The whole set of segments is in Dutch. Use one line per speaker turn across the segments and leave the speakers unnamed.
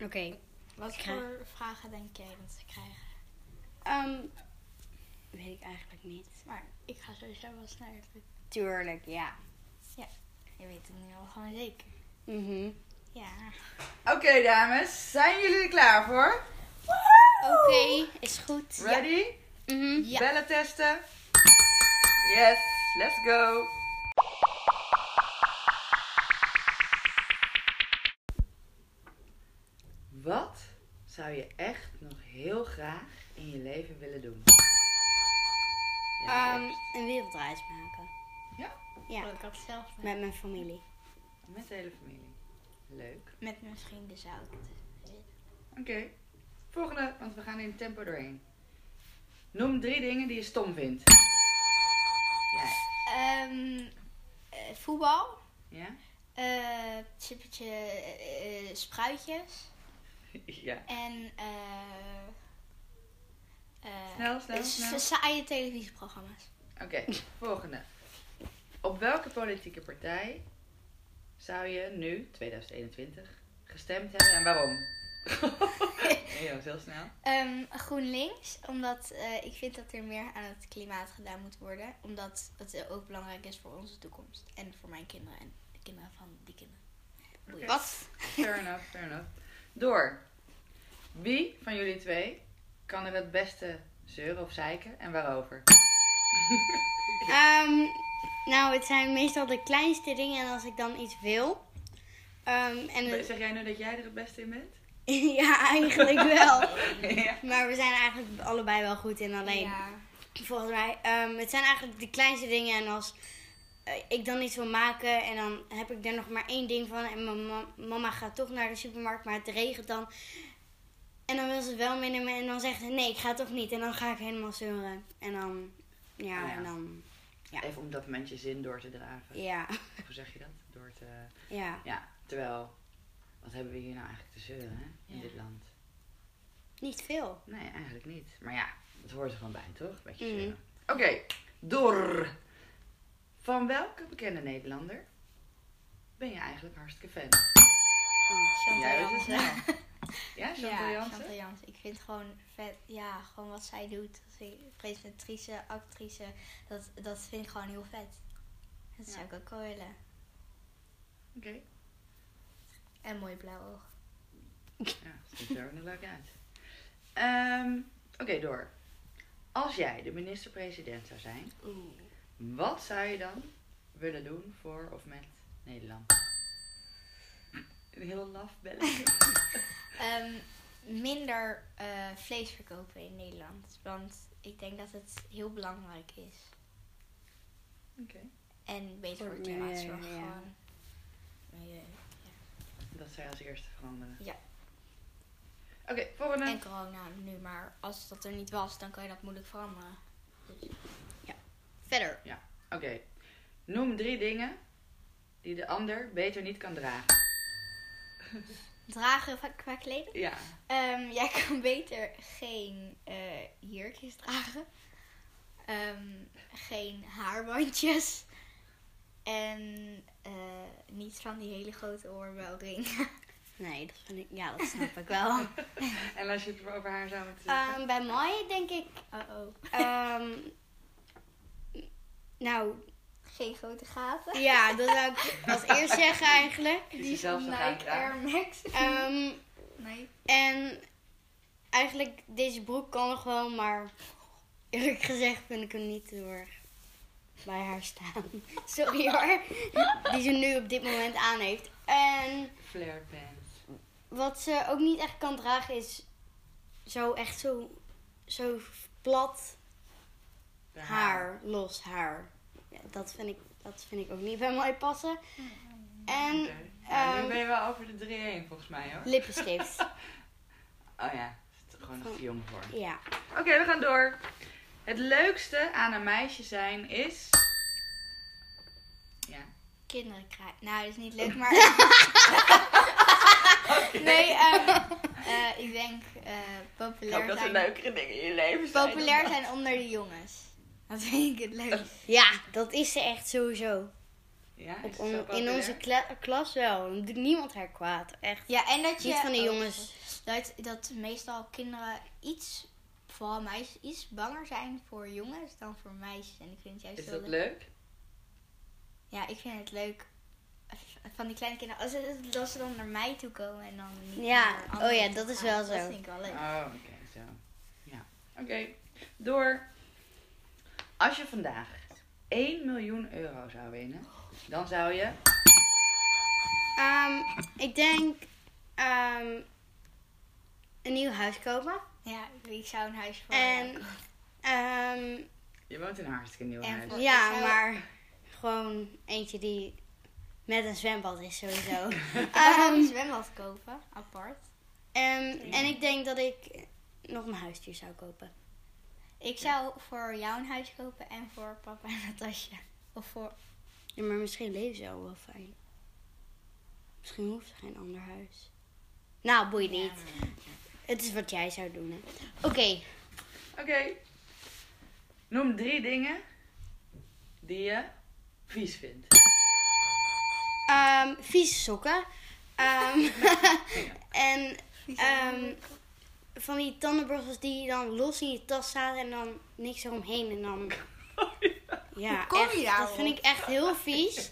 Oké.
Wat
Ik ga-
voor vragen denk jij dat ze krijgen?
ehm, weet ik eigenlijk niet.
Maar ik ga sowieso wel sneller.
Tuurlijk, ja.
Je weet het nu al gewoon zeker.
Mhm.
Ja.
Oké, dames. Zijn jullie er klaar voor?
Oké, is goed. Ja.
Ready?
Mhm.
Bellen testen. Yes, let's go. Wat zou je echt nog heel graag in je leven willen doen? Ja,
Ehm, een wereldreis maken.
Ja?
Ja,
Ik had zelf met,
met mijn familie.
Met de hele familie. Leuk.
met mijn vrienden zou ik het.
Oké. Volgende, want we gaan in tempo doorheen. Noem drie dingen die je stom vindt. Ja.
Ehm, eh, voetbal.
Ja?
eh chippertje, eh, eh, spruitjes.
Ja.
En eh. eh,
Snel, snel,
s-
snel.
Saaie televisieprogramma's.
Oké, volgende. Op welke politieke partij zou je nu, 2021, gestemd hebben en waarom? Nee, dat was heel snel.
Ehm, GroenLinks, omdat eh, ik vind dat er meer aan het klimaat gedaan moet worden. Omdat het ook belangrijk is voor onze toekomst. En voor mijn kinderen en de kinderen van die kinderen. Boeien.
Oké.
Wat?
Fair enough, fair enough. Door. Wie van jullie twee kan er het beste zeuren of zeiken en waarover?
Ehm, nou, het zijn meestal de kleinste dingen. En als ik dan iets wil. ehm, en het-
Zeg jij nu dat jij er het beste in bent?
ja, eigenlijk wel.
ja.
Maar we zijn eigenlijk allebei wel goed in. Alleen,
Ja.
volgens mij, ehm, het zijn eigenlijk de kleinste dingen. En als eh, ik dan iets wil maken en dan heb ik er nog maar één ding van. En mijn ma- mama gaat toch naar de supermarkt, maar het regent dan. En dan wil ze het wel meenemen en dan zegt ze nee, ik ga toch niet. En dan ga ik helemaal zeuren. En dan, ja,
Ja.
en dan,
Even om dat moment je zin door te draven.
ja,
Hoe zeg je dat? Door te...
ja,
Ja, terwijl... Wat hebben we hier nou eigenlijk te zeuren, hè? In
Ja.
dit land.
niet veel.
Nee, eigenlijk niet. Maar ja, het hoort er gewoon bij, toch? Beetje
Mm.
Mhm.
zeuren. Oké, door. Van welke bekende Nederlander ben je eigenlijk hartstikke fan?
Chantal
Jij weet het
Jansen.
wel. Ja, Chantal
ja,
Jansen?
Chantal Jansen. Ik vind gewoon vet, ja, gewoon wat zij doet. Als ik- Presentatrice, actrice, dat, dat vind ik gewoon heel vet. Dat
Ja.
zou ik ook wel willen.
Oké.
En mooi blauw oog.
Ja, ziet er ook nog leuk uit. Ehm, Oké, door. Als jij de minister-president zou zijn, wat zou je dan willen doen voor of met Nederland? Een heel laf belletje.
Ehm, minder eh, vlees verkopen in Nederland. Want ik denk dat het heel belangrijk is.
Oké.
En beter
Voor
voor het
het milieu,
klimaat zorgen
ja.
gewoon. Eh, Milieu.
Dat zou je als eerste veranderen.
Ja.
Oké, volgende.
En corona nu, maar als dat er niet was, dan kan je dat moeilijk veranderen. Dus-
Verder.
Oké. Noem drie dingen die de ander beter niet kan dragen.
Dragen va- qua kleding?
Ja.
Ehm, jij kan beter geen eh, jurkjes dragen. Ehm, geen haarbandjes. En eh, niet van die hele grote oorbelring.
Nee, dat vind ik, ja, dat snap ik wel.
En als je het over haar zou moeten zeggen.
Ehm, bij mij denk ik,
Uh-oh.
ehm, nou,
Geen grote gaten.
Ja, dat zou ik als eerst zeggen eigenlijk.
Die ze zelf zou gaan
Nike
dragen.
Air Max.
Ehm,
nee.
en eigenlijk, deze broek kan nog wel, maar eerlijk gezegd vind ik hem niet heel erg bij haar staan. Sorry hoor. Die ze nu op dit moment aan heeft. En
Flare pants.
wat ze ook niet echt kan dragen is zo echt zo, zo plat
De
haar, los haar. Ja, dat, vind ik, dat vind ik ook niet bij mij passen. En
Oké. Ja, nu
ehm,
ben je wel over de drie heen volgens mij hoor.
lippenstift.
Oh ja, het is gewoon nog te jong voor.
Ja.
Oké, we gaan door. Het leukste aan een meisje zijn is. Ja.
Kinderen krijgen. Nou, dat is niet leuk, maar. nee, ehm, eh, ik denk eh,
Ik hoop
populair,
dat er
zijn,
leukere dingen in je leven zijn. dan
populair
dat.
zijn onder de jongens. Dat vind ik het leuk.
Ja, dat is ze echt sowieso.
Ja,
Op
is het
on-
zo
in
populair?
onze kla- klas wel. Dan doet niemand haar kwaad. Echt.
Ja, en dat je...
Niet van die
oh,
jongens.
Dat, dat meestal kinderen iets, vooral meisjes, iets banger zijn voor jongens dan voor meisjes. En ik vind het juist
Is
heel
dat leuk?
Ja, ik vind het leuk v- van die kleine kinderen. Als ze, dat ze dan naar mij toe komen en dan niet
Ja,
naar anderen
oh ja,
toe
dat is
gaan.
wel
Dat
zo.
vind ik wel leuk.
Oh, oké, zo. Ja. Oké, door. Als je vandaag 1 miljoen euro zou winnen, dan zou je.
Ehm, ik denk ehm, een nieuw huis kopen.
Ja, ik zou een huis voor
En,
jou
ehm,
Je woont in een hartstikke nieuw
En
huis.
voor-
ja,
ik zou-
maar gewoon eentje die met een zwembad is sowieso.
kopen. Ik zou een
Ehm,
zwembad kopen, apart.
ehm, En ik denk dat ik nog een huisdier zou kopen.
Ik zou voor jou een huis kopen en voor papa en Natasja. Of voor...
Ja, maar misschien leven ze al wel fijn. Misschien hoeft ze geen ander huis. Nou, boeit niet. Het is wat jij zou doen, hè. Oké,
Oké. Noem drie dingen die je vies vindt.
ehm, vieze sokken. Ehm, en ehm, van die tandenborstels die dan los in je tas staan en dan niks eromheen. En dan, ja,
kom je
echt, dat
daarop?
vind ik echt heel vies.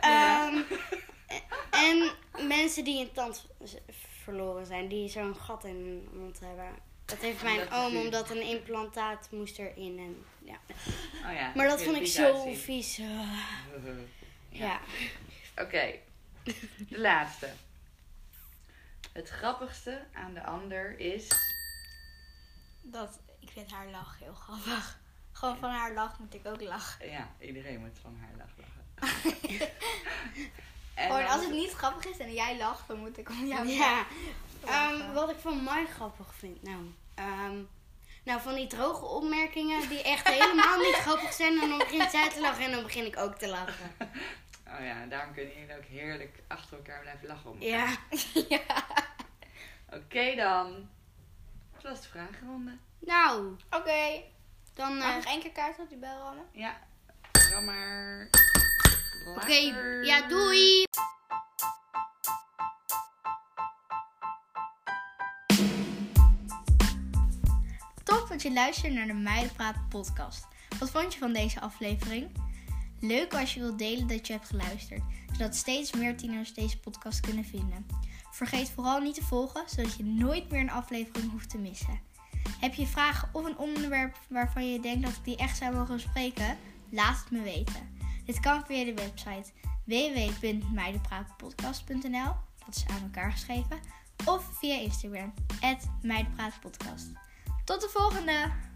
Ehm, e- en mensen die een tand z- verloren zijn, die zo'n gat in hun mond hebben. Dat heeft mijn
Dat is
oom,
vies.
omdat een implantaat moest erin. En, ja.
Oh ja,
Maar dat
je
vond ik
vies
zo
uitzien.
vies. eh,
Ja.
ja.
Oké, de laatste. Het grappigste aan de ander is.
Dat, ik vind haar lach heel grappig. Gewoon van haar lach moet ik ook lachen.
Ja, iedereen moet van haar lachen.
Gewoon als het niet grappig is en jij lacht, dan moet ik om jou lachen.
Ja. Ehm, wat ik van mij grappig vind, nou, ehm, nou van die droge opmerkingen die echt helemaal niet grappig zijn en dan begint zij te lachen en dan begin ik ook te lachen.
Oh ja, daarom kunnen jullie ook heerlijk achter elkaar blijven lachen om. elkaar.
Ja.
Oké dan. Dat was de vragenronde.
Nou,
Oké,
dan.
mag
eh,
ik nog één keer kaart op die bel rammen?
Ja, dan maar.
Oké,
later.
ja, doei.
Top dat je luistert naar de Meidenpraat podcast. Wat vond je van deze aflevering? Leuk als je wilt delen dat je hebt geluisterd, zodat steeds meer tieners deze podcast kunnen vinden. Vergeet vooral niet te volgen, zodat je nooit meer een aflevering hoeft te missen. Heb je vragen of een onderwerp waarvan je denkt dat ik die echt zou mogen bespreken? Laat het me weten. Dit kan via de website www.meidenpraatpodcast.nl, dat is aan elkaar geschreven, of via Instagram, @meidenpraatpodcast. Tot de volgende!